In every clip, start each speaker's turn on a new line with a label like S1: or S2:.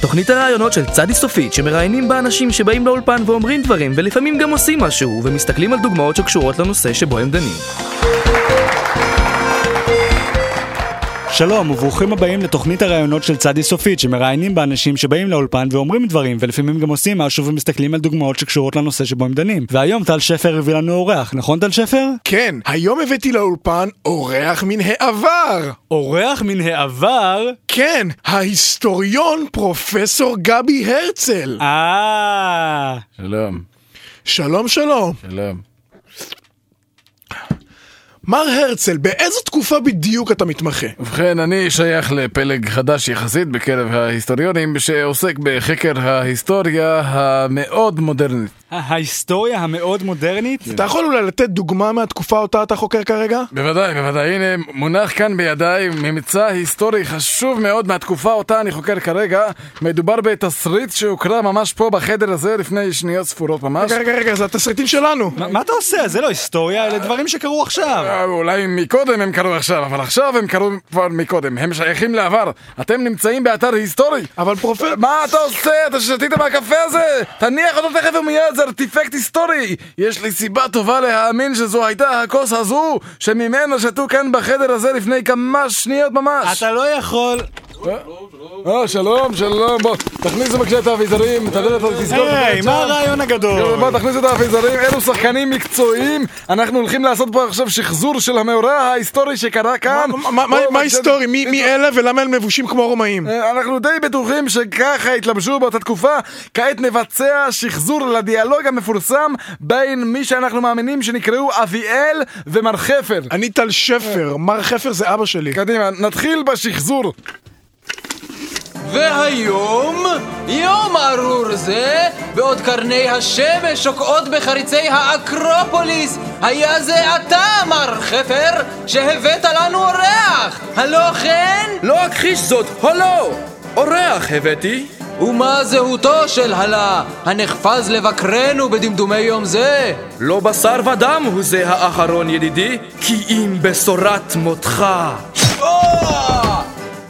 S1: תוכנית הרעיונות של צדי סופית, שמראיינים בה אנשים שבאים לאולפן ואומרים דברים, ולפעמים גם עושים משהו, ומסתכלים על דוגמאות שקשורות לנושא שבו הם דנים.
S2: שלום וברוכים הבאים לתוכנית הראיונות של צדי סופית שמראיינים באנשים שבאים לאולפן ואומרים דברים ולפעמים גם עושים משהו ומסתכלים על דוגמאות שקשורות לנושא שבו הם דנים. והיום טל שפר הביא לנו אורח, נכון טל שפר?
S3: כן, היום הבאתי לאולפן אורח מן העבר.
S2: אורח מן העבר?
S3: כן, ההיסטוריון פרופסור גבי הרצל.
S2: אה...
S4: שלום,
S3: שלום שלום.
S4: שלום.
S3: מר הרצל, באיזו תקופה בדיוק אתה מתמחה?
S4: ובכן, אני שייך לפלג חדש יחסית בקרב ההיסטוריונים שעוסק בחקר ההיסטוריה המאוד מודרנית.
S2: ההיסטוריה המאוד מודרנית?
S3: אתה יכול אולי לתת דוגמה מהתקופה אותה אתה חוקר כרגע?
S4: בוודאי, בוודאי. הנה, מונח כאן בידיי ממצא היסטורי חשוב מאוד מהתקופה אותה אני חוקר כרגע. מדובר בתסריט שהוקרא ממש פה בחדר הזה לפני שניות ספורות ממש.
S3: רגע, רגע, רגע, זה התסריטים שלנו.
S2: מה- מה אתה עושה? זה לא היסטוריה, אלה דברים שקרו עכשיו.
S4: אה, אולי מקודם הם קראו עכשיו, אבל עכשיו הם קראו כבר מקודם. הם שייכים לעבר. אתם נמצאים באתר היסטורי.
S3: אבל פרופסור...
S4: מה אתה עושה? אתה שתית מהקפה הזה? תניח אותו תכף ומיד, זה ארטיפקט היסטורי! יש לי סיבה טובה להאמין שזו הייתה הכוס הזו שממנה שתו כאן בחדר הזה לפני כמה שניות ממש!
S2: אתה לא יכול...
S4: אה, שלום, שלום, בוא, תכניסו בבקשה את האביזרים, את הדלת הזאת תסגור.
S2: היי, מה הרעיון הגדול?
S4: בוא, תכניסו את האביזרים, אלו שחקנים מקצועיים, אנחנו הולכים לעשות פה עכשיו שחזור של המאורע ההיסטורי שקרה כאן.
S3: מה- מה- מה-
S4: בוא,
S3: מה
S4: בבקשה,
S3: היסטורי? מי מי אלה ולמה הם מבושים כמו
S4: אה.
S3: רומאים?
S4: אנחנו די בטוחים שככה התלבשו באותה תקופה. כעת נבצע שחזור לדיאלוג המפורסם בין מי שאנחנו מאמינים שנקראו אביאל ומר חפר.
S3: אני טל שפר, מר חפר זה אבא שלי.
S4: קדימה, נתחיל בשחזור.
S5: והיום, יום ארור זה, בעוד קרני השמש שוקעות בחריצי האקרופוליס, היה זה אתה, מר חפר, שהבאת לנו אורח, הלא כן?
S6: לא אכחיש זאת, הלו! אורח הבאתי.
S5: ומה זהותו של הלה, הנחפז לבקרנו בדמדומי יום זה?
S6: לא בשר ודם הוא זה האחרון ידידי, כי אם בשורת מותך.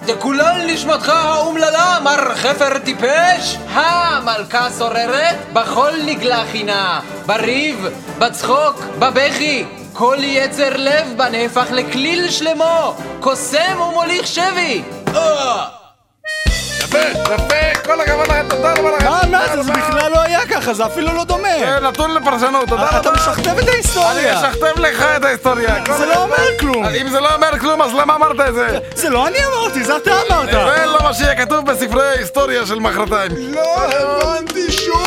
S5: תקולל נשמתך האומללה, מר חפר טיפש! המלכה שוררת, בכל נגלה חינה, בריב, בצחוק, בבכי. כל יצר לב בה נהפך לכליל שלמו, קוסם ומוליך שבי! אה!
S4: יפה, יפה, כל הכבוד לכם, תודה רבה לכם.
S2: מה, מה זה? זה בכלל לא היה ככה, זה אפילו לא דומה.
S4: כן, נתון לפרשנות, תודה רבה.
S2: אתה משכתב את
S4: אני
S2: ההיסטוריה.
S4: אשכתב לך את ההיסטוריה. כל
S2: זה לא
S4: הכבוד.
S2: אומר כלום.
S4: אם זה לא אומר כלום, אז למה אמרת את זה?
S2: זה לא אני אמרתי, זה אתה אמרת.
S4: זה לא מה שיהיה כתוב בספרי ההיסטוריה של מחרתיים.
S3: לא הבנתי שום